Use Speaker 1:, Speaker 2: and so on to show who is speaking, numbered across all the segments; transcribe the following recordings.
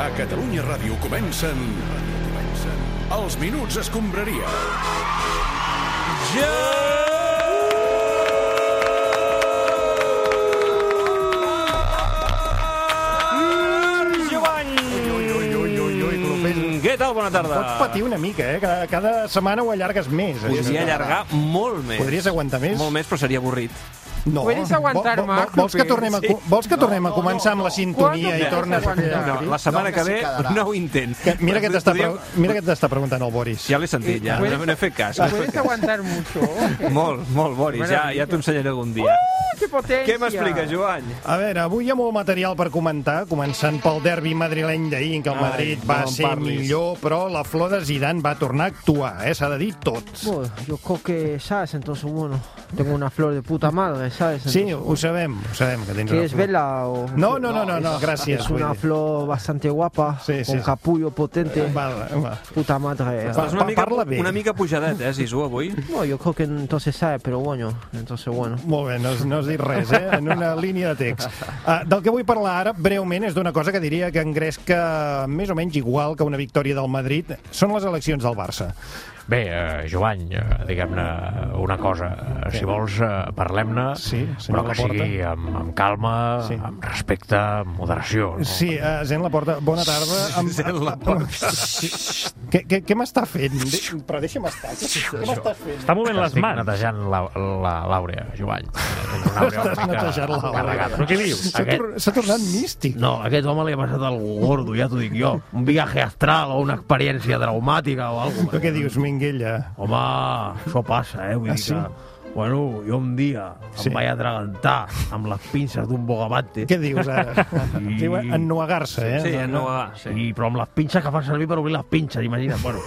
Speaker 1: A Catalunya Ràdio comencen... comencen Els Minuts Escombraria.
Speaker 2: Joan!
Speaker 3: Ui, ui, ui, ui, ui, clopés.
Speaker 2: Què tal? Bona tarda.
Speaker 3: Pots patir una mica, eh? Cada, cada setmana ho allargues més. eh?
Speaker 2: Podria allargar molt més.
Speaker 3: Podries aguantar més?
Speaker 2: Molt més, però seria avorrit.
Speaker 3: No.
Speaker 4: Podries aguantar
Speaker 3: Vol- vol-
Speaker 4: más,
Speaker 3: Vols que
Speaker 4: Clopés.
Speaker 3: tornem a, co- vols que tornem a començar amb la sintonia
Speaker 4: Quan
Speaker 3: i
Speaker 4: ho
Speaker 3: tornes a
Speaker 4: penses
Speaker 3: fer...
Speaker 2: No,
Speaker 4: aguantar?
Speaker 2: la setmana
Speaker 5: No,
Speaker 2: que
Speaker 5: que
Speaker 2: ve,
Speaker 5: sí quedarà.
Speaker 2: nou intent.
Speaker 3: Mira que t'està
Speaker 2: Podríem-
Speaker 3: pre- mira que t'està preguntant el Boris.
Speaker 2: Ja l'he sentit, ja.
Speaker 4: Podries-
Speaker 2: No n'he fet cas. no n'he fet
Speaker 4: Puedes
Speaker 2: cas.
Speaker 4: aguantar mucho.
Speaker 2: Molt, molt, Boris. Ja, ja t'ho ensenyaré algun dia.
Speaker 4: ¡Qué potencia!
Speaker 2: Què m'explica, Joan?
Speaker 3: A veure, avui hi ha molt material per comentar, començant pel derbi madrileny d'ahir, en què el
Speaker 2: Ai,
Speaker 3: Madrid
Speaker 2: no
Speaker 3: va
Speaker 2: em
Speaker 3: ser
Speaker 2: parlis.
Speaker 3: millor, però la flor de Zidane va tornar a actuar, eh? S'ha de dir tot.
Speaker 6: Bueno, yo creo que, ¿sabes? Entonces, bueno, tengo una flor de puta madre, ¿sabes?
Speaker 3: Sí,
Speaker 6: Entonces,
Speaker 3: ho sabem, ho sabem, que tens
Speaker 6: ¿Quieres
Speaker 3: una flor.
Speaker 6: verla o...?
Speaker 3: No, no, no, no, no gràcies.
Speaker 6: Es una
Speaker 3: vull dir.
Speaker 6: flor bastante guapa,
Speaker 3: Sí,
Speaker 6: con
Speaker 3: sí. Eh,
Speaker 6: capullo potente.
Speaker 3: Va, va.
Speaker 6: Puta madre.
Speaker 3: Va.
Speaker 2: Estàs una mica,
Speaker 3: parla bé.
Speaker 2: una mica pujadet, eh, Sisu, avui?
Speaker 6: No, yo creo que entonces sabe, pero bueno, entonces bueno.
Speaker 3: Molt bé, no, has- no has dit res, eh? En una línia de text. Uh, del que vull parlar ara, breument, és d'una cosa que diria que engresca més o menys igual que una victòria del Madrid. Són les eleccions del Barça.
Speaker 7: Bé, eh, Joan, eh, diguem-ne una cosa. Eh, Si vols, eh, parlem-ne,
Speaker 3: Sí, senyor
Speaker 7: però que
Speaker 3: Laporta.
Speaker 7: sigui amb, amb calma,
Speaker 3: Sí.
Speaker 7: sí. amb respecte, amb moderació. No?
Speaker 3: Sí, uh, Zen Laporta, bona tarda. Amb, Ah,
Speaker 2: Zen Laporta.
Speaker 3: Què, què, què m'està fent? De- Però deixa'm estar. Què m'estàs fent?
Speaker 8: Està movent les
Speaker 7: Estic
Speaker 8: mans.
Speaker 7: netejant la- la- l'àurea, Joan. Tens una àurea
Speaker 3: Estàs
Speaker 7: una mica
Speaker 3: netejant l'àurea.
Speaker 7: carregada.
Speaker 8: Però què dius?
Speaker 3: S'ha
Speaker 7: Aquest-
Speaker 3: tor s'ha tornat místic.
Speaker 7: No, a aquest home li ha passat algú gordo, ja t'ho dic jo. Un viatge astral o una experiència traumàtica o alguna
Speaker 3: Tu què dius, Minguella?
Speaker 7: Home, això passa, eh? Vull
Speaker 3: Ah,
Speaker 7: dir
Speaker 3: sí?
Speaker 7: que... Bueno, jo un dia
Speaker 3: Sí.
Speaker 7: em vaig atragantar amb les pinces d'un bogavante
Speaker 3: Què dius ara?
Speaker 7: I-
Speaker 3: Diu ennuegar-se, eh?
Speaker 2: Sí, no, va, sí.
Speaker 7: I, però amb les pinces que fan servir per obrir les pinces, imagina't. Bueno,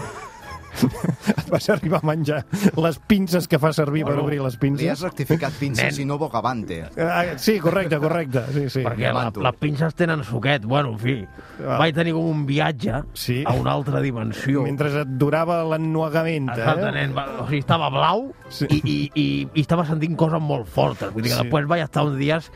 Speaker 3: Et vas arribar a menjar les pinces que fa servir per
Speaker 7: Bueno,
Speaker 3: obrir les
Speaker 5: Li has
Speaker 3: pinces?
Speaker 5: rectificat pinces
Speaker 7: Nen.
Speaker 5: i no bogavante.
Speaker 3: Ah, sí, correcte, correcte. Sí, sí.
Speaker 7: perquè la,
Speaker 5: manto.
Speaker 7: les pinces tenen suquet. Bueno, en fi,
Speaker 3: Ah.
Speaker 7: vaig tenir com un viatge
Speaker 3: Sí.
Speaker 7: a una altra dimensió.
Speaker 3: Mentre et durava l'ennuegament,
Speaker 7: Exacte,
Speaker 3: eh?
Speaker 7: nen, va- o sigui, estava blau
Speaker 3: Sí.
Speaker 7: sí. i, i, i, i estava sentint coses molt fortes. Vull dir que
Speaker 3: Sí.
Speaker 7: sí. després vaig estar uns dies,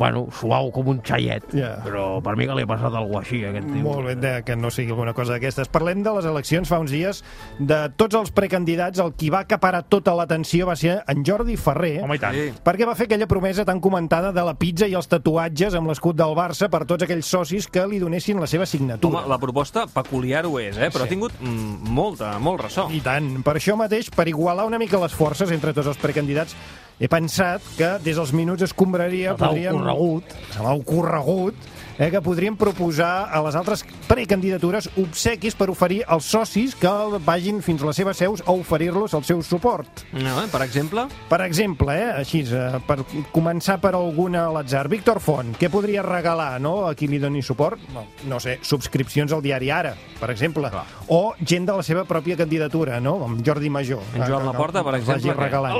Speaker 7: bueno, suau com un xaiet.
Speaker 3: Ja.
Speaker 7: Però per mi que li ha passat alguna així, a aquest tio.
Speaker 3: Molt bé, de, que no sigui alguna cosa d'aquestes. Parlem de les eleccions fa uns dies, de tots els precandidats, el qui va acaparar tota l'atenció va ser en Jordi Ferrer,
Speaker 8: Home, i tant.
Speaker 2: Sí.
Speaker 3: perquè va fer aquella promesa tan comentada de la pizza i els tatuatges amb l'escut del Barça per tots aquells socis que li donessin la seva signatura.
Speaker 2: Home, la proposta peculiar ho és, eh? però ha tingut mm, molta, molt ressò.
Speaker 3: I tant. Per això mateix, per igualar una mica les forces entre tots els precandidats, he pensat que des dels minuts escombraria...
Speaker 7: Se t'ha ocorregut.
Speaker 3: Se m'ha ocorregut eh, que podríem proposar a les altres precandidatures obsequis per oferir als socis que vagin fins a les seves seus a oferir-los el seu suport.
Speaker 2: No, eh? Per exemple,
Speaker 3: Per exemple, eh, així, eh, per començar per alguna a l'atzar. Víctor Font, què podria regalar no, a qui li doni suport? No, no sé, subscripcions al diari Ara, per exemple. O gent de la seva pròpia candidatura, no? amb Jordi Major.
Speaker 2: En Joan Laporta, per exemple, què?
Speaker 3: Regalant.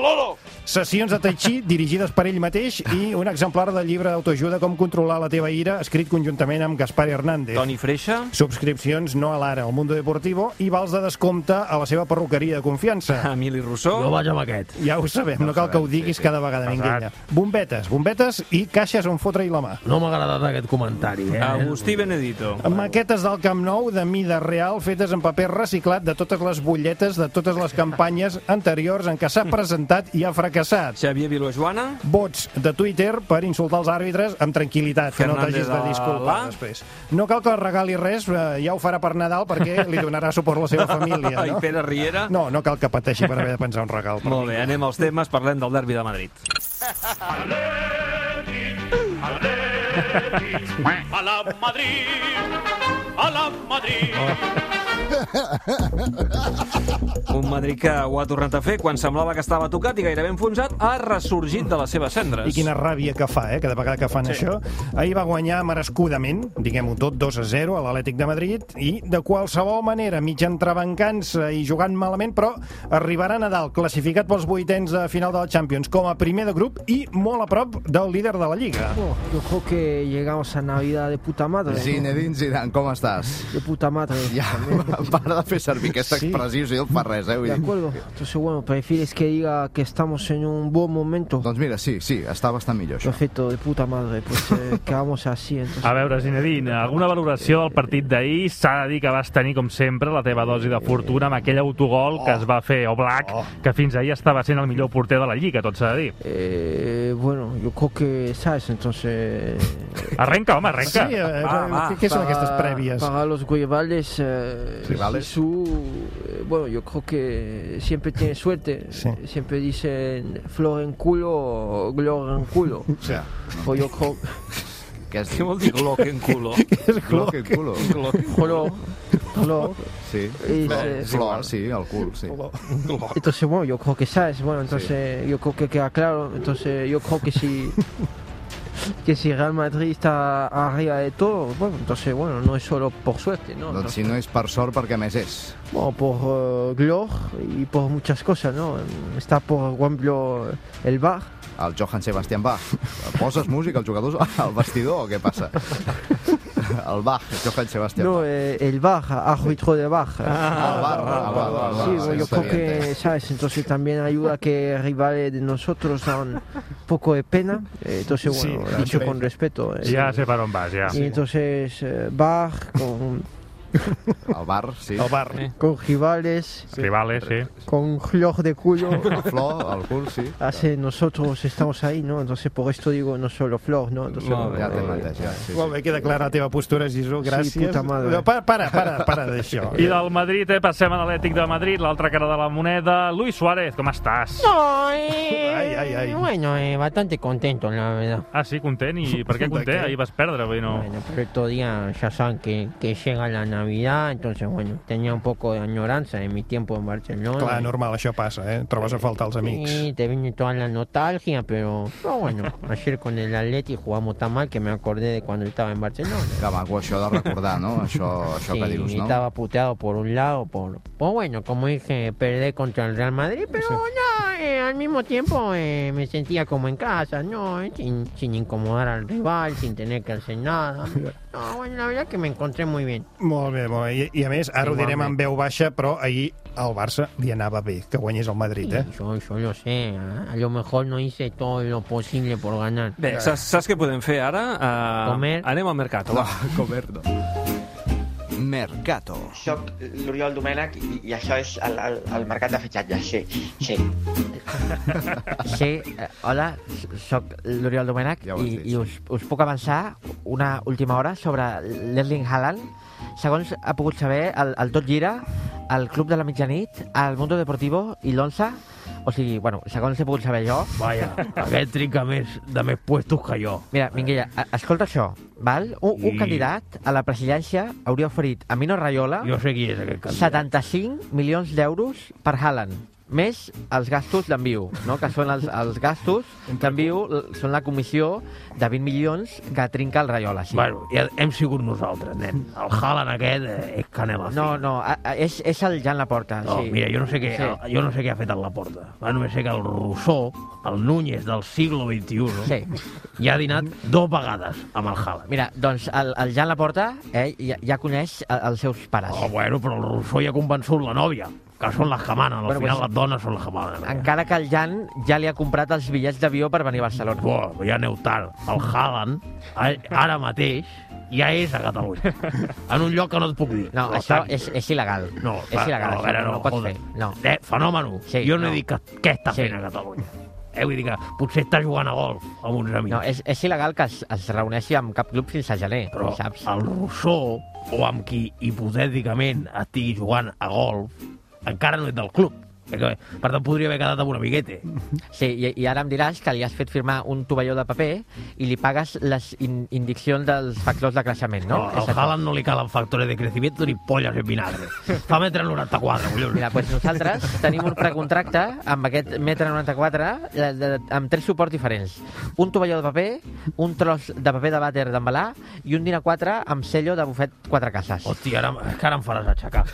Speaker 3: Sessions de Tai Chi dirigides per ell mateix i un exemplar del llibre d'autoajuda Com controlar la teva ira, escrit conjuntament amb Gaspar Hernández.
Speaker 2: Toni Freixa,
Speaker 3: Subscripcions no a l'Ara, al Mundo Deportivo i vals de descompte a la seva perruqueria de confiança.
Speaker 2: Emili
Speaker 7: Jo
Speaker 2: Rousseau,
Speaker 7: vaig amb aquest.
Speaker 3: Ja ho sabem, no cal que ho diguis cada vegada, Minguella. Bombetes, bombetes i caixes on fotre-hi la mà.
Speaker 7: No m'ha agradat aquest comentari, eh?
Speaker 2: Agustí Benedito.
Speaker 3: Maquetes del Camp Nou de mida real fetes en paper reciclat de totes les butlletes de totes les campanyes anteriors en què s'ha presentat i ha fracassat.
Speaker 2: Xavier Vilajoana,
Speaker 3: Vots de Twitter per insultar els àrbitres amb tranquil·litat, que no
Speaker 2: Fernández
Speaker 3: t'hagis de disculpar
Speaker 2: Alá.
Speaker 3: després. No cal que regali res, eh, ja ho farà per Nadal perquè li donarà suport la seva família.
Speaker 2: i
Speaker 3: No,
Speaker 2: Pere Riera.
Speaker 3: no, no cal que pateixi per haver de pensar un regal. Per
Speaker 2: Molt bé, anem als temes, parlem del derbi de Madrid.
Speaker 9: A la Madrid, a la Madrid.
Speaker 2: Un Madrid que ho ha tornat a fer quan semblava que estava tocat i gairebé enfonsat, ha ressorgit de les seves cendres.
Speaker 3: I quina ràbia que fa, eh, cada vegada que fan sí. això. Ahir va guanyar merescudament, diguem-ho tot, 2 a 0 a l'Atlètic de Madrid, i de qualsevol manera, mig entrebancant-se i jugant malament, però arribarà a Nadal, classificat pels vuitens de final de la Champions, com a primer de grup i molt a prop del líder de la Lliga.
Speaker 6: Bueno, yo creo que llegamos a Navidad de puta madre.
Speaker 5: Zinedine Zidane, com estàs?
Speaker 6: De puta madre.
Speaker 5: Ja,
Speaker 6: también.
Speaker 4: Para de fer servir aquesta
Speaker 3: Sí.
Speaker 4: expressió si no et fa res, eh? Vull
Speaker 6: De
Speaker 4: dir.
Speaker 6: acuerdo. Entonces, bueno, ¿prefieres que diga que estamos en un buen momento?
Speaker 4: Doncs mira, sí, sí, està bastant millor això.
Speaker 6: Perfecto, de puta madre. Pues eh, quedamos así, entonces.
Speaker 5: A veure, Zinedine, alguna valoració del partit d'ahir? S'ha de dir que vas tenir, com sempre, la teva dosi de fortuna amb aquell autogol que es va fer Oblak, que fins ahir estava sent el millor porter de la Lliga, tot s'ha de dir.
Speaker 6: Eh, bueno, yo creo que, ¿sabes? Entonces...
Speaker 5: Arrenca, home,
Speaker 3: Sí,
Speaker 5: arrenca.
Speaker 3: eh,
Speaker 2: Va, va.
Speaker 3: què, què són aquestes prèvies?
Speaker 6: Para los rivales, eh,
Speaker 4: Rivales.
Speaker 6: Sisu, eh, bueno, yo creo que siempre tiene suerte.
Speaker 3: Sí.
Speaker 6: Siempre dicen flor en culo, gloria en culo.
Speaker 3: O sigui,
Speaker 6: o yo creo,
Speaker 4: Què has
Speaker 2: Què
Speaker 4: dit?
Speaker 2: vol dir gloc en culo?
Speaker 3: és
Speaker 4: Cloc i culo.
Speaker 6: flor, flor.
Speaker 4: Sí.
Speaker 6: I-
Speaker 4: Flor,
Speaker 6: sí.
Speaker 4: flor, sí, el cul, sí.
Speaker 6: Entonces, bueno, yo creo que sabes, bueno, entonces yo creo que queda claro. Entonces, yo creo que si que si Real Madrid está arriba de todo, bueno, entonces, bueno, no es solo por suerte, ¿no?
Speaker 4: Doncs si
Speaker 6: Entonces,
Speaker 4: no és per sort, perquè més és.
Speaker 6: bueno, por eh, Glor y por muchas cosas, ¿no? Está por ejemplo el bar.
Speaker 4: El Johan Sebastián Bach. Poses música als jugadors al vestidor o què passa? El Bach, Johan Sebastián
Speaker 6: No,
Speaker 4: Bach.
Speaker 6: eh, el bar, árbitro de bar.
Speaker 4: El Bach, el Bach, el Bach.
Speaker 6: Sí, bueno, yo
Speaker 4: està
Speaker 6: creo
Speaker 4: bien, eh?
Speaker 6: que, ¿sabes? Entonces también ayuda que rivales de nosotros dan un poco de pena. Eh, Entonces,
Speaker 3: Sí,
Speaker 6: bueno,
Speaker 3: dan
Speaker 6: dicho
Speaker 3: pena.
Speaker 6: con respeto. eh,
Speaker 5: Ja sé per on vas, ja.
Speaker 6: Y entonces eh, Bach con,
Speaker 4: El bar, sí.
Speaker 3: El bar.
Speaker 6: con Givales,
Speaker 5: Rivales, eh, sí.
Speaker 6: con Glor de culo.
Speaker 4: La flor, el cul, sí.
Speaker 6: Hace nosotros estamos ahí, ¿no? Entonces por esto digo no solo Flor, ¿no? Entonces,
Speaker 2: Molt bé.
Speaker 4: Ja
Speaker 10: Eh,
Speaker 4: t'he entès, ja. Sí,
Speaker 3: Molt
Speaker 4: sí.
Speaker 3: bé, queda clara la teva postura, Gisú, gràcies.
Speaker 6: puta madre.
Speaker 3: No, para, para, para, para d'això.
Speaker 5: I del Madrid, eh, passem a l'Atlètic de Madrid, l'altra cara de la moneda. Luis Suárez, com estàs?
Speaker 8: No, eh,
Speaker 3: Ay, ay, ay.
Speaker 8: Bueno, eh, bastante contento, la verdad.
Speaker 5: Ah, sí, content. I per què
Speaker 3: De
Speaker 5: content?
Speaker 3: què?
Speaker 5: Ahir vas perdre, vull dir, no...
Speaker 8: Bueno, pero estos días ya saben que, que llega la Navidad, entonces, bueno, tenía un poco de añoranza de mi tiempo en Barcelona.
Speaker 3: Clar, normal, això passa, eh? Trobes a faltar els amics.
Speaker 8: Sí, te vino toda la nostalgia, pero, pero bueno, ayer con el Atleti jugamos tan mal que me acordé de cuando estaba en Barcelona.
Speaker 4: Que maco això de recordar, no? Això, això que
Speaker 8: Sí,
Speaker 4: dius, no?
Speaker 8: estaba puteado por un lado, por... Pues bueno, como dije, perder contra el Real Madrid, pero no, eh, al mismo tiempo eh, me sentía como en casa, ¿no? Eh, sin, sin incomodar al rival, sin tener que hacer nada. No, bueno, la verdad que me encontré muy bien.
Speaker 3: Molt bé, molt bé. I, i a més, ara ho direm amb veu baixa, però ahir al Barça li anava bé que guanyés el Madrid, eh?
Speaker 8: Y Yo, yo lo sé, ¿eh? a lo mejor no hice todo lo posible por ganar.
Speaker 2: Bé, saps, saps què podem fer ara? Uh,
Speaker 8: Comer.
Speaker 2: Anem al mercat.
Speaker 4: No, comer, no. Mercato.
Speaker 11: Soc l'Oriol Domènech i, i això és el, el, el mercat de fitxatges, sí, sí.
Speaker 10: Sí, eh, hola, s- sóc l'Oriol Domènech
Speaker 4: Ja ho has
Speaker 10: i,
Speaker 4: dit,
Speaker 10: i us, us puc avançar una última hora sobre l'Erling Haaland. Segons ha pogut saber, el, el Tot Gira, el Club de la Mitjanit, el Mundo Deportivo i l'Onza, o sigui, bueno, segons he pogut saber jo...
Speaker 7: Vaja, aquest trinca més de més puestos que jo.
Speaker 10: Mira, Minguella, a- escolta això, val? Un, un
Speaker 7: I-
Speaker 10: candidat a la presidència hauria oferit a Mino Raiola
Speaker 7: Jo sé qui és aquest candidat.
Speaker 10: 75 milions d'euros per Haaland més els gastos d'enviu, no? que són els, els gastos d'enviu, l- són la comissió de 20 milions que trinca el Rayola. Sí.
Speaker 7: Bueno, ja hem sigut nosaltres, nen. El Haaland aquest eh, és que anem a
Speaker 10: No, no, a, a, és, és el Jan Laporta.
Speaker 7: No,
Speaker 10: sí.
Speaker 7: Oh, mira, jo no sé què,
Speaker 10: Sí.
Speaker 7: jo no sé què ha fet en la porta. Va, només sé que el Rousseau, el Núñez del siglo XXI,
Speaker 10: Sí.
Speaker 7: ja ha dinat dos vegades amb el Haaland.
Speaker 10: Mira, doncs el, el Jan Laporta eh, ja, ja coneix eh, els seus pares.
Speaker 7: Oh, bueno, però el Rousseau ja ha convençut la nòvia, que són les que manen. Al
Speaker 10: Bueno,
Speaker 7: final
Speaker 10: pues-
Speaker 7: les dones són les que manen. eh.
Speaker 10: Encara que el Jan ja li ha comprat els bitllets d'avió per venir a Barcelona.
Speaker 7: Buah, ja aneu tard. El Haaland, a- ara mateix, ja és a Catalunya. En un lloc que no et puc dir.
Speaker 10: No,
Speaker 7: Però
Speaker 10: això
Speaker 7: tant.
Speaker 10: és, és il·legal.
Speaker 7: No,
Speaker 10: és
Speaker 7: va,
Speaker 10: il·legal,
Speaker 7: no, a
Speaker 10: això,
Speaker 7: veure,
Speaker 10: no,
Speaker 7: no,
Speaker 10: ho pots
Speaker 7: joder.
Speaker 10: fer. No.
Speaker 7: Eh, fenòmeno.
Speaker 10: Sí,
Speaker 7: jo no,
Speaker 10: no.
Speaker 7: he dit que, què està
Speaker 10: Sí.
Speaker 7: fent a Catalunya. Eh, vull dir que potser està jugant a golf amb uns amics.
Speaker 10: No, eh, és, és il·legal que es, es reuneixi amb cap club fins a gener,
Speaker 7: però
Speaker 10: saps?
Speaker 7: el Rousseau, o amb qui hipotèticament estigui jugant a golf, encara no és del club. Perquè, Per tant, podria haver quedat amb un amiguete.
Speaker 10: Sí, i, i ara em diràs que li has fet firmar un tovalló de paper i li pagues les in indiccions dels factors de creixement,
Speaker 7: No,
Speaker 10: no?
Speaker 7: al
Speaker 10: això.
Speaker 7: Haaland no li calen factores de crecimiento ni polles en vinagre. Fa metre 94, collons.
Speaker 10: Mira, doncs nosaltres tenim un precontracte amb aquest metre 94 de, de, amb tres suports diferents. Un tovalló de paper, un tros de paper de vàter d'embalar i un
Speaker 7: Oh.
Speaker 10: dinar 4 amb cello de bufet quatre cases.
Speaker 7: Hòstia, ara, és que ara em faràs aixecar.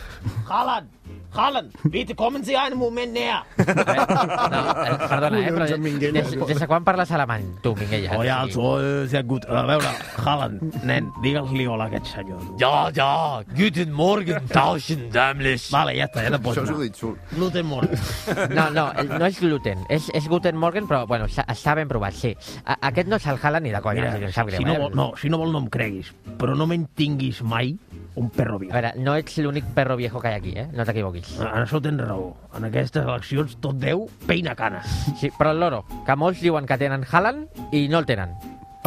Speaker 7: Haaland! Haaland, bitte kommen Sie einen ah, Moment näher.
Speaker 10: Eh, Perdona, eh, però de- des, des de quan parles alemany, tu, Minguella?
Speaker 7: Oh, ja, els vols, ja, gut. A veure, Haaland, nen, digue'ls-li hola a aquest senyor. Ja, ja, guten Morgen, tauschen, dämlich. Vale, ja està, ja te pots
Speaker 10: Això és
Speaker 7: anar.
Speaker 10: un
Speaker 7: Guten Morgen.
Speaker 10: No, no, el- no és gluten, és, és gluten morgen, però bueno, s'ha- està ben provat, sí. A, aquest no és el Haaland ni de conya,
Speaker 7: Mira,
Speaker 10: em sap greu.
Speaker 7: si no
Speaker 10: eh?
Speaker 7: vol- no, si no vol no em creguis, però no me'n tinguis mai un perro viu.
Speaker 10: A veure, no ets l'únic perro viejo que hi ha aquí, eh? No t'equivoquis.
Speaker 7: En això tens raó. En aquestes eleccions tot Déu peina canes.
Speaker 10: Sí, però el loro, que molts diuen que tenen Haaland i no el tenen.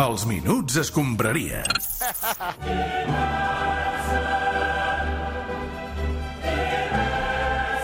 Speaker 1: Els minuts escombraria.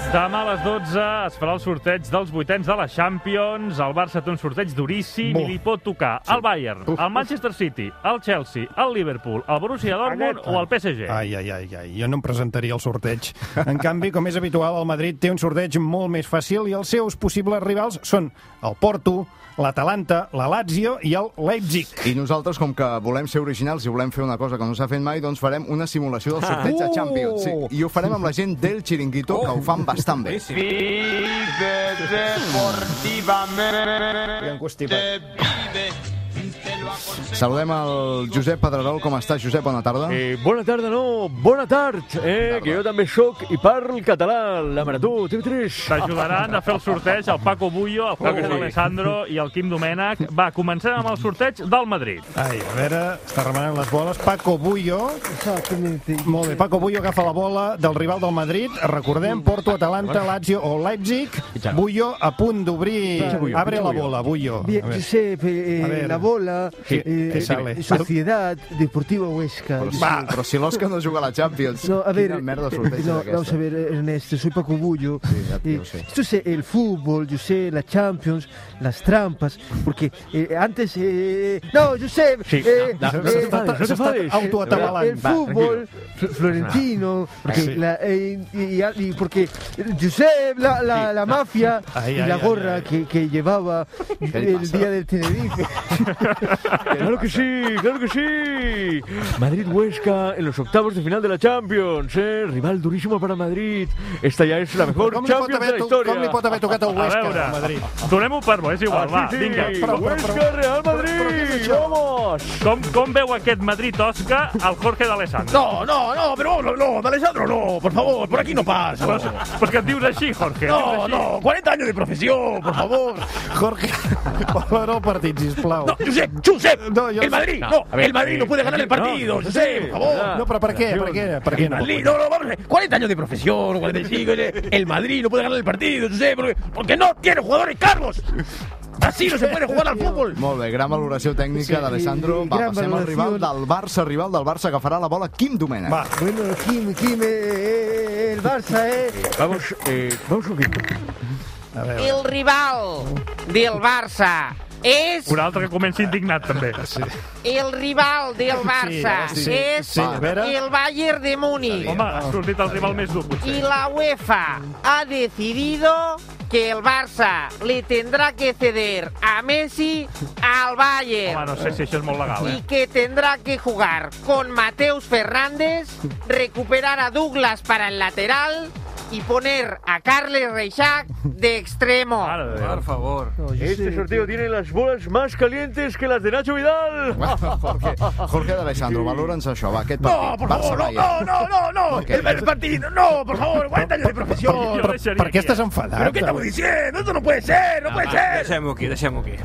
Speaker 5: Demà a les 12 es farà el sorteig dels vuitens de la Champions. El Barça té un sorteig duríssim i li pot tocar el Bayern, el Manchester City, el Chelsea, el Liverpool, el Borussia Dortmund o el PSG.
Speaker 3: Ai, ai, ai, ai, jo no em presentaria al sorteig. En canvi, com és habitual, el Madrid té un sorteig molt més fàcil i els seus possibles rivals són el Porto, l'Atalanta, la Lazio i el Leipzig.
Speaker 4: I nosaltres, com que volem ser originals i volem fer una cosa que no s'ha fet mai, doncs farem una simulació del sorteig de
Speaker 1: Ah.
Speaker 4: Champions. Sí, I ho farem amb la gent del Chiringuito, que ho fan bastant bé.
Speaker 9: Vive deportivamente.
Speaker 4: Saludem al Josep Pedrerol. Com està, Josep? Bona tarda.
Speaker 12: Eh, bona tarda, no, bona tarda, eh, que jo també sóc i parlo català, la Marató TV3.
Speaker 5: T'ajudaran a fer el sorteig el Paco Bullo, el Paco Alessandro i el Quim Domènech. Va, comencem amb el sorteig del Madrid.
Speaker 3: Ai, a veure, està remenant les boles. Paco Bullo. Molt bé, Paco Bullo agafa la bola del rival del Madrid. Recordem, Porto, Atalanta, Lazio o Leipzig. Bullo a punt d'obrir.
Speaker 13: Pitja Bullo,
Speaker 3: Abre
Speaker 13: pitja
Speaker 3: la
Speaker 13: Bullo.
Speaker 3: bola, Bullo.
Speaker 13: Bien,
Speaker 3: A veure.
Speaker 13: Josep, eh,
Speaker 3: A ver.
Speaker 13: la bola,
Speaker 3: Sí,
Speaker 13: eh,
Speaker 3: ¿qué sale?
Speaker 13: Sociedad Deportiva Huesca.
Speaker 4: Però, Va. però si l'Òscar no juga a la Champions,
Speaker 13: No, a ver,
Speaker 4: quina merda
Speaker 13: eh,
Speaker 4: sorteig és
Speaker 13: no,
Speaker 4: aquesta?
Speaker 13: vamos a ver, Ernesto, soy Paco Bullo. Eh,
Speaker 4: lo sé.
Speaker 13: esto es el fútbol, yo sé, la Champions, las trampas, porque eh, antes... eh, no, Josep,
Speaker 12: Sí,
Speaker 13: eh,
Speaker 12: no, no, no
Speaker 13: eh,
Speaker 12: te enfades, no te enfades.
Speaker 13: El, el
Speaker 12: Va,
Speaker 13: fútbol
Speaker 12: tranquilo.
Speaker 13: fl- florentino, porque
Speaker 12: Sí.
Speaker 13: la, eh, y, y- y porque eh, Josep, la, la, la mafia
Speaker 12: Ah, Ahí,
Speaker 13: y
Speaker 12: ahí,
Speaker 13: la
Speaker 12: ahí,
Speaker 13: gorra Que, que llevaba
Speaker 12: le
Speaker 13: el
Speaker 12: pasa?
Speaker 13: día del Tenerife.
Speaker 12: Claro que sí, claro que sí. Madrid-Huesca en los octavos de final de la Champions, eh, rival durísimo para Madrid. Esta ya es la mejor
Speaker 3: Com li pot
Speaker 12: Champions de la
Speaker 3: haver to-
Speaker 12: historia.
Speaker 3: com li pot haver tocat el Huesca, al Madrid?
Speaker 5: Donem-ho per bo, és igual,
Speaker 12: Ah,
Speaker 5: va,
Speaker 12: sí, sí.
Speaker 5: vinga.
Speaker 12: Però, però, però- Huesca, Real Madrid, però què és això? vamos!
Speaker 5: Com, com veu aquest Madrid, Òscar, el Jorge d'Alessandro?
Speaker 7: No, no, no, pero no, no, D'Alessandro, no, por favor, por aquí no pasa.
Speaker 5: Però, però que et dius així, Jorge?
Speaker 7: No, no, 40 años de profesión, por favor.
Speaker 3: Jorge, valora el partit, sisplau.
Speaker 7: No, Josep, Josep,
Speaker 3: jo-
Speaker 7: el Madrid, no,
Speaker 3: A ver,
Speaker 7: el Madrid no puede ganar el partido,
Speaker 3: no,
Speaker 7: Josep, por favor.
Speaker 3: No, però per què? Per què? Per què
Speaker 7: El
Speaker 3: no?
Speaker 7: Madrid, no, no, vamos, a ver, 40 años de profesión, 45, eh, el Madrid no puede ganar el partido, Josep, porque, porque no tiene jugadores cargos. Así no se puede jugar al fútbol.
Speaker 4: Molt bé, gran valoració tècnica
Speaker 7: Sí,
Speaker 4: d'Alessandro.
Speaker 7: i- i
Speaker 4: Va,
Speaker 7: gran
Speaker 4: passem al rival
Speaker 7: valoració.
Speaker 4: del Barça, rival del Barça que farà la bola Quim Domènech. Va.
Speaker 13: Bueno, Kim, Kim, eh, eh, eh, el Barça, eh.
Speaker 12: Vamos, eh, vamos un poquito.
Speaker 3: A
Speaker 5: Eh,
Speaker 10: El rival del Barça és...
Speaker 5: Un altre que comença indignat, també. Sí.
Speaker 10: El rival del Barça
Speaker 5: Sí, sí,
Speaker 10: és
Speaker 5: sí, a veure.
Speaker 10: el Bayern de Múnich.
Speaker 5: Home, ha sortit el rival més dur, potser.
Speaker 10: Y la UEFA ha decidido que el Barça le tendrá que ceder a Messi al Bayern.
Speaker 5: Home, no sé si això és molt legal, eh?
Speaker 10: Y que tendrá que jugar con Mateus Fernández, recuperar a Douglas para el lateral y poner a Carles Reixac de extremo.
Speaker 12: Por
Speaker 2: favor.
Speaker 12: Este sorteo tiene las bolas más calientes que las de Nacho Vidal.
Speaker 4: Jorge d'Alessandro, valora'ns això, va, aquest partit.
Speaker 12: No, por
Speaker 4: Barça,
Speaker 12: favor, no,
Speaker 4: Bayern.
Speaker 7: No, no, no,
Speaker 4: Ok.
Speaker 7: el, el partido, no, por favor, 40 años de profesión.
Speaker 3: Per què
Speaker 12: eh?
Speaker 3: estàs enfadat?
Speaker 7: ¿Pero qué estamos diciendo? Esto no puede ser, no puede ser.
Speaker 2: Deixem-ho aquí, deixem-ho aquí.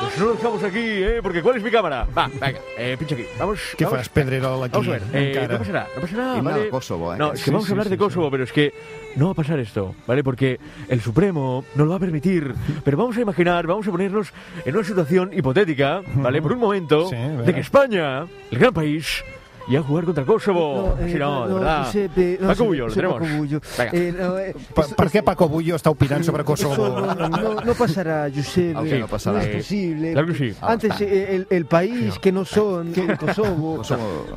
Speaker 12: Pues no lo dejamos aquí, ¿eh? Porque ¿cuál es mi cámara? Va, venga, eh, pincho aquí. Vamos.
Speaker 3: Què
Speaker 12: vamos.
Speaker 3: fas, Pedrerol, aquí?
Speaker 12: Vamos a ver, eh,
Speaker 3: encara?
Speaker 12: no pasa nada, no pasa nada.
Speaker 4: Himno
Speaker 12: ¿vale?
Speaker 4: de Kosovo, ¿eh?
Speaker 12: No, es que
Speaker 4: Sí,
Speaker 12: vamos
Speaker 4: sí,
Speaker 12: a hablar
Speaker 4: sí,
Speaker 12: de Kosovo, pero es que no va a pasar esto, ¿vale? Porque el Supremo no lo va a permitir. Pero vamos a imaginar, vamos a ponernos en una situación hipotética, ¿vale? Por un momento,
Speaker 3: Sí, a ver.
Speaker 12: de que España, el gran país, y a jugar contra Kosovo.
Speaker 13: No, eh,
Speaker 12: si no, de
Speaker 13: no,
Speaker 12: verdad.
Speaker 13: Giuseppe, no,
Speaker 12: Paco Bullo, lo
Speaker 13: Giuseppe
Speaker 12: tenemos.
Speaker 13: Bullo.
Speaker 12: Venga.
Speaker 13: Eh, no, eh,
Speaker 3: Per, per què Paco Bullo està opinant sobre Kosovo?
Speaker 13: eso no, no- no pasará, Giuseppe.
Speaker 3: Aunque no pasará.
Speaker 13: es posible.
Speaker 3: Claro que sí.
Speaker 12: Ah,
Speaker 13: Antes eh, el, el país que no son el Kosovo.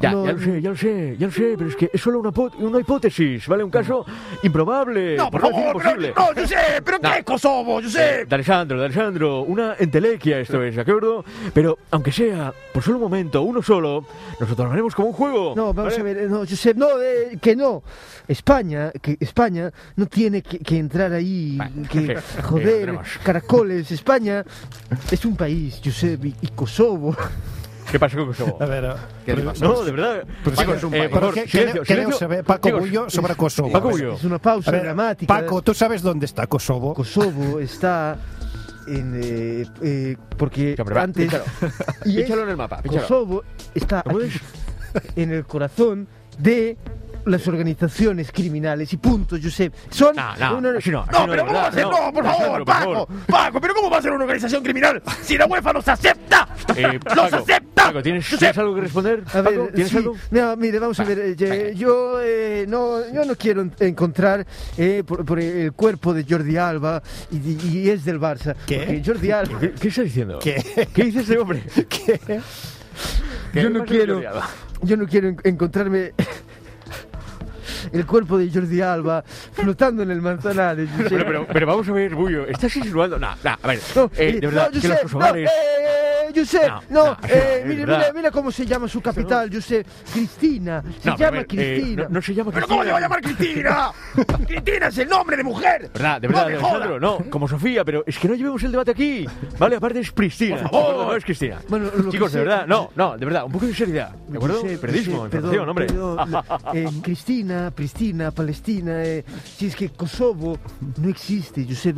Speaker 12: Ya,
Speaker 13: no-
Speaker 12: ya lo sé, ya lo sé, ya lo sé, pero es que es solo una, pot- una hipótesis, ¿vale? Un caso improbable,
Speaker 7: No,
Speaker 12: por
Speaker 7: por
Speaker 12: no decir
Speaker 7: favor, pero-
Speaker 12: imposible.
Speaker 7: no, yo sé, pero ¿qué es Kosovo? Yo sé.
Speaker 12: Eh, D'Alessandro, D'Alessandro, una entelequia esto es, ¿de acuerdo? Pero aunque sea por solo un momento, uno solo, nosotros lo haremos como un juego.
Speaker 13: No, vamos a ver, eh, no, Josep, no, eh, que no. España, que España no tiene que, que entrar ahí, que
Speaker 12: sí, lo
Speaker 13: joder,
Speaker 12: tenemos.
Speaker 13: caracoles. España es un país, Josep, y, y Kosovo.
Speaker 12: ¿Qué pasa con Kosovo?
Speaker 3: A veure...
Speaker 12: ¿Qué le pasa? No, de verdad.
Speaker 3: Però,
Speaker 12: Paco,
Speaker 3: sí,
Speaker 12: es un
Speaker 3: eh,
Speaker 12: país.
Speaker 3: però què,
Speaker 12: Por favor,
Speaker 3: què,
Speaker 12: silencio,
Speaker 3: què deu
Speaker 12: silencio.
Speaker 3: saber Paco
Speaker 12: Digo,
Speaker 3: Bullo sobre Kosovo?
Speaker 12: Paco Bullo.
Speaker 13: Es una pausa
Speaker 3: A veure,
Speaker 13: dramática. ¿eh?
Speaker 3: Paco, ¿tú sabes dónde está Kosovo?
Speaker 13: Kosovo está en... eh, eh, porque
Speaker 12: va,
Speaker 13: antes...
Speaker 12: píchalo.
Speaker 13: es-
Speaker 12: Píchalo en el mapa, píchalo.
Speaker 13: Kosovo está aquí, en el corazón de las organizaciones criminales y punto, Josep. Son...
Speaker 7: No, no,
Speaker 13: una-
Speaker 7: así no, así No, no, pero de ¿cómo va a verdad, ser? no. No, por favor, Alejandro, por Paco, favor.
Speaker 13: Paco,
Speaker 7: ¿Pero cómo va a ser una organización criminal si la UEFA nos acepta?
Speaker 12: Eh,
Speaker 7: ¡Nos
Speaker 12: Paco,
Speaker 7: acepta!
Speaker 12: Paco, ¿tienes, tienes algo que responder?
Speaker 13: A ver,
Speaker 12: Paco, ¿tienes
Speaker 13: sí.
Speaker 12: algo?
Speaker 13: No, mire, vamos a
Speaker 12: Va,
Speaker 13: ver. eh, ye- yo, eh, no, yo no quiero en- encontrar eh, por, por el cuerpo de Jordi Alba y, y es del Barça.
Speaker 12: ¿Qué?
Speaker 13: Porque Jordi Alba.
Speaker 12: ¿Qué, qué estás diciendo?
Speaker 13: ¿Qué?
Speaker 12: ¿Qué dice ese hombre?
Speaker 13: ¿Qué?
Speaker 12: ¿Qué
Speaker 13: Yo no
Speaker 12: pasa,
Speaker 13: quiero.
Speaker 12: Jordi Alba?
Speaker 13: Yo no quiero en- encontrarme. El cuerpo de Jordi Alba flotando en el manzanares. yo sé.
Speaker 12: Pero, pero, pero vamos a ver, Bullo, ¿estás insinuando? No, no, a ver,
Speaker 13: No,
Speaker 12: eh,
Speaker 13: eh,
Speaker 12: de verdad,
Speaker 13: no, yo
Speaker 12: que
Speaker 13: sé,
Speaker 12: los kosovares...
Speaker 13: no, eh, Josep,
Speaker 12: No,
Speaker 13: no,
Speaker 12: no,
Speaker 13: eh,
Speaker 12: es
Speaker 13: mire,
Speaker 12: verdad.
Speaker 13: mira, mira cómo se llama su capital, Josep. Cristina, se
Speaker 12: No, pero a
Speaker 13: llama
Speaker 12: ver, eh,
Speaker 13: Cristina.
Speaker 12: no- no se llama
Speaker 7: ¿Pero cómo se va a llamar Cristina? Cristina es el nombre de mujer.
Speaker 12: ¿Verdad? De verdad,
Speaker 7: no me
Speaker 12: Alejandro,
Speaker 7: jodas.
Speaker 12: no, como Sofía, pero es que no llevemos el debate aquí. Vale, aparte es Cristina.
Speaker 7: Por favor.
Speaker 12: No, es Cristina.
Speaker 13: Bueno, lo que
Speaker 12: Chicos, de
Speaker 13: sé-
Speaker 12: verdad, no, no, Ah, de verdad, un poco de seriedad. ¿De acuerdo?
Speaker 13: Josep,
Speaker 12: Periodismo,
Speaker 13: Josep,
Speaker 12: información,
Speaker 13: perdón,
Speaker 12: hombre.
Speaker 13: perdón, la- eh, Cristina, Pristina, Palestina, eh, si es que Kosovo no existe, Josep.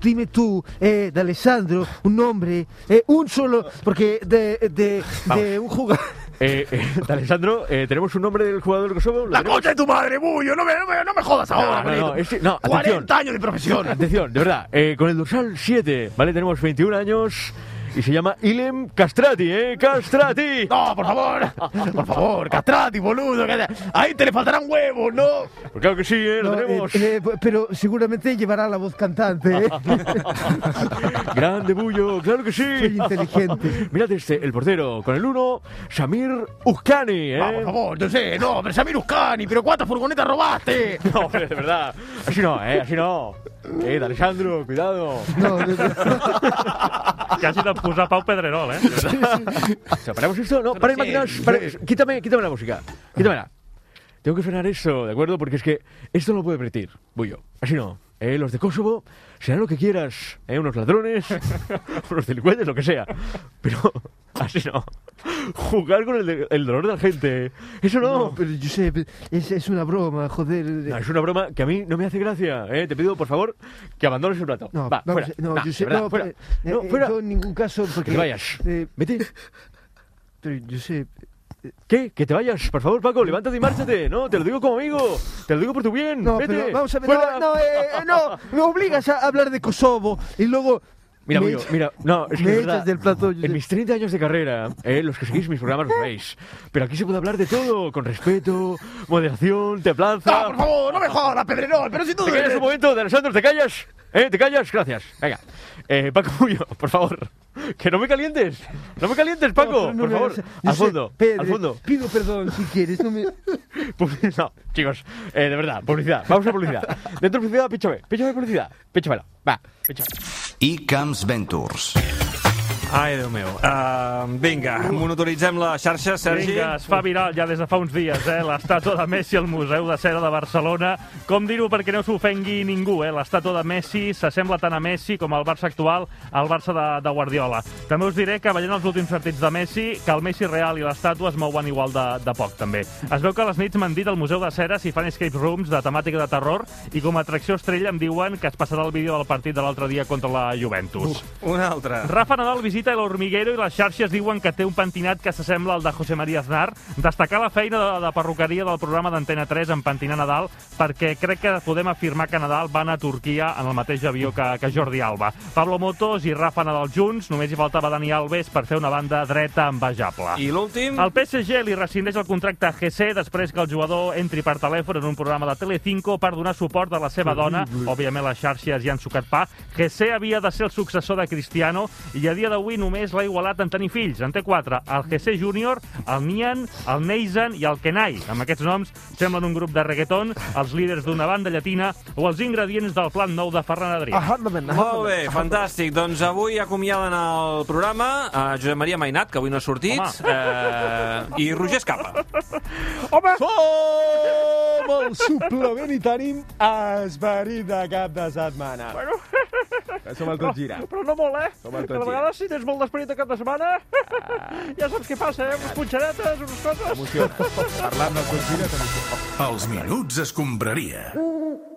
Speaker 13: Dime tú, eh, de Alessandro, un nombre, eh, un solo, porque de, de, de un jugador.
Speaker 12: Eh, eh, Alessandro, eh, ¿tenemos un nombre del jugador de Kosovo?
Speaker 7: La concha de tu madre, Bullo. No me, no me, no me jodas ahora,
Speaker 12: No, no, no,
Speaker 7: Benito.
Speaker 12: este- no, atención.
Speaker 7: 40 años de profesión.
Speaker 12: Atención, de verdad, eh, con el dorsal 7, ¿vale? Tenemos 21 años y se llama Ilem Castrati, ¿eh? ¡Castrati!
Speaker 7: No, por favor, por favor, castrati, boludo. que- Ahí te le faltarán huevos, ¿no?
Speaker 12: Pues claro que sí, ¿eh? Lo
Speaker 13: No, eh,
Speaker 12: tenemos.
Speaker 13: eh, pero seguramente llevará la voz cantante. ¿eh?
Speaker 12: Grande Bullo, claro que sí.
Speaker 13: Soy inteligente.
Speaker 12: Mirad este, el portero, con el 1, Samir Uzcani, ¿eh?
Speaker 7: Ah, por favor, yo sé, no, pero Samir Uscani, pero ¿cuántas furgonetas robaste?
Speaker 12: No, hombre, de verdad. Así no, ¿eh? Así no. Eh, Alessandro, cuidado.
Speaker 13: No, no,
Speaker 5: Quasi de posar Pau Pedrerol, eh?
Speaker 12: O sea, ¿Paramos esto? No, paren máquinas. paren. Quítame, quítame la música. Quítamela. Tengo que frenar esto, ¿de acuerdo? Porque es que esto no lo puede permitir, Bullo. Así no. Eh, los de Kosovo serán lo que quieras. Eh, unos ladrones, unos delincuentes, lo que sea. Pero así no. Jugar con el, de- el dolor de la gente. Eso no.
Speaker 13: pero Josep, es, es una broma, joder.
Speaker 12: No, es una broma que a mí no me hace gracia. ¿eh? Te pido, por favor, que abandones el plato.
Speaker 13: No,
Speaker 12: Va,
Speaker 13: vamos
Speaker 12: fuera.
Speaker 13: a- no,
Speaker 12: Va, de
Speaker 13: Josep,
Speaker 12: verdad,
Speaker 13: no,
Speaker 12: fuera.
Speaker 13: pero,
Speaker 12: No,
Speaker 13: eh,
Speaker 12: fuera.
Speaker 13: yo en ningún caso, porque...
Speaker 12: Que te vayas.
Speaker 13: eh,
Speaker 12: Vete.
Speaker 13: pero Josep,
Speaker 12: ¿Qué? Que te vayas, por favor, Paco, levántate y márchate. No, te lo digo como amigo. Te lo digo por tu bien.
Speaker 13: No,
Speaker 12: Mm, Vete.
Speaker 13: pero vamos a ver.
Speaker 12: Fuera.
Speaker 13: No, no, eh, no, me obligas a hablar de Kosovo y luego.
Speaker 12: Mira,
Speaker 13: me
Speaker 12: Bullo,
Speaker 13: echa-
Speaker 12: mira, no, es que
Speaker 13: me
Speaker 12: de
Speaker 13: echas
Speaker 12: verdad,
Speaker 13: del plato.
Speaker 12: En mis 30 años de carrera, eh, los que seguís mis programas lo sabéis, pero aquí se puede hablar de todo, con respeto, moderación, templanza...
Speaker 7: No, por favor, no me jodas, Pedrerol, pero si tú...
Speaker 12: ¿Te callas un momento, de Alessandro? ¿Te callas? ¿Eh? ¿Te callas? Gracias. Venga. Eh, Paco Bullo, por favor, que no me calientes. No me calientes, Paco,
Speaker 13: pero no
Speaker 12: por
Speaker 13: me
Speaker 12: favor.
Speaker 13: hagas-
Speaker 12: Al
Speaker 13: Josep,
Speaker 12: fondo, al
Speaker 13: Pedro,
Speaker 12: fondo.
Speaker 13: Pido perdón si quieres, no me.
Speaker 12: Publi- No, chicos, eh, de verdad, publicidad. Vamos a publicidad. Dentro de publicidad, píchame. Píchame publicidad. Píchamela. Va, píchame.
Speaker 14: iCamps Ventures.
Speaker 2: Ai, Déu meu. Uh, vinga, monitoritzem la xarxa, Sergi.
Speaker 5: Vinga, es fa viral ja des de fa uns dies, eh? L'estàtua de Messi al Museu de Cera de Barcelona. Com dir-ho perquè no s'ofengui ningú, eh? L'estàtua de Messi s'assembla tant a Messi com al Barça actual, al Barça de, de Guardiola. També us diré que veient els últims partits de Messi, que el Messi real i l'estàtua es mouen igual de, de poc, també. Es veu que a les nits m'han dit al Museu de Cera si fan escape rooms de temàtica de terror i com a atracció estrella em diuen que es passarà el vídeo del partit de l'altre dia contra la Juventus.
Speaker 2: Una altra.
Speaker 5: Rafa Nadal visita visita l'Hormiguero i les xarxes diuen que té un pentinat que s'assembla al de José María Aznar. Destacar la feina de, de perruqueria del programa d'Antena 3 en pentinar Nadal, perquè crec que podem afirmar que Nadal va anar a Turquia en el mateix avió que, que Jordi Alba. Pablo Motos i Rafa Nadal junts, només hi faltava Dani Alves per fer una banda dreta envejable.
Speaker 2: I l'últim?
Speaker 5: El PSG li rescindeix el contracte a GC després que el jugador entri per telèfon en un programa de Telecinco per donar suport a la seva dona. Òbviament les xarxes ja han sucat pa. GC havia de ser el successor de Cristiano i a dia d'avui només l'ha igualat en tenir fills. En té quatre, el GC Júnior, el Nian, el Neizan i el Kenai. Amb aquests noms semblen un grup de reggaeton, els líders d'una banda llatina o els ingredients del plan nou de Ferran Adrià.
Speaker 2: Molt bé, fantàstic. Doncs avui acomiaden el programa a Josep Maria Mainat, que avui no ha sortit, eh, i Roger Escapa.
Speaker 15: Home! Som el suplement i tenim esperit de cap de setmana. Bueno. Som el tot gira.
Speaker 5: Però, però no molt, eh?
Speaker 15: Som el tot
Speaker 5: Que de
Speaker 15: gira.
Speaker 5: vegades si tens molt d'esperit de cap de setmana, ja saps què passa, eh? Unes punxaretes, unes coses...
Speaker 15: Parlant del tot gira, també.
Speaker 1: Els minuts escombraria.
Speaker 15: Home,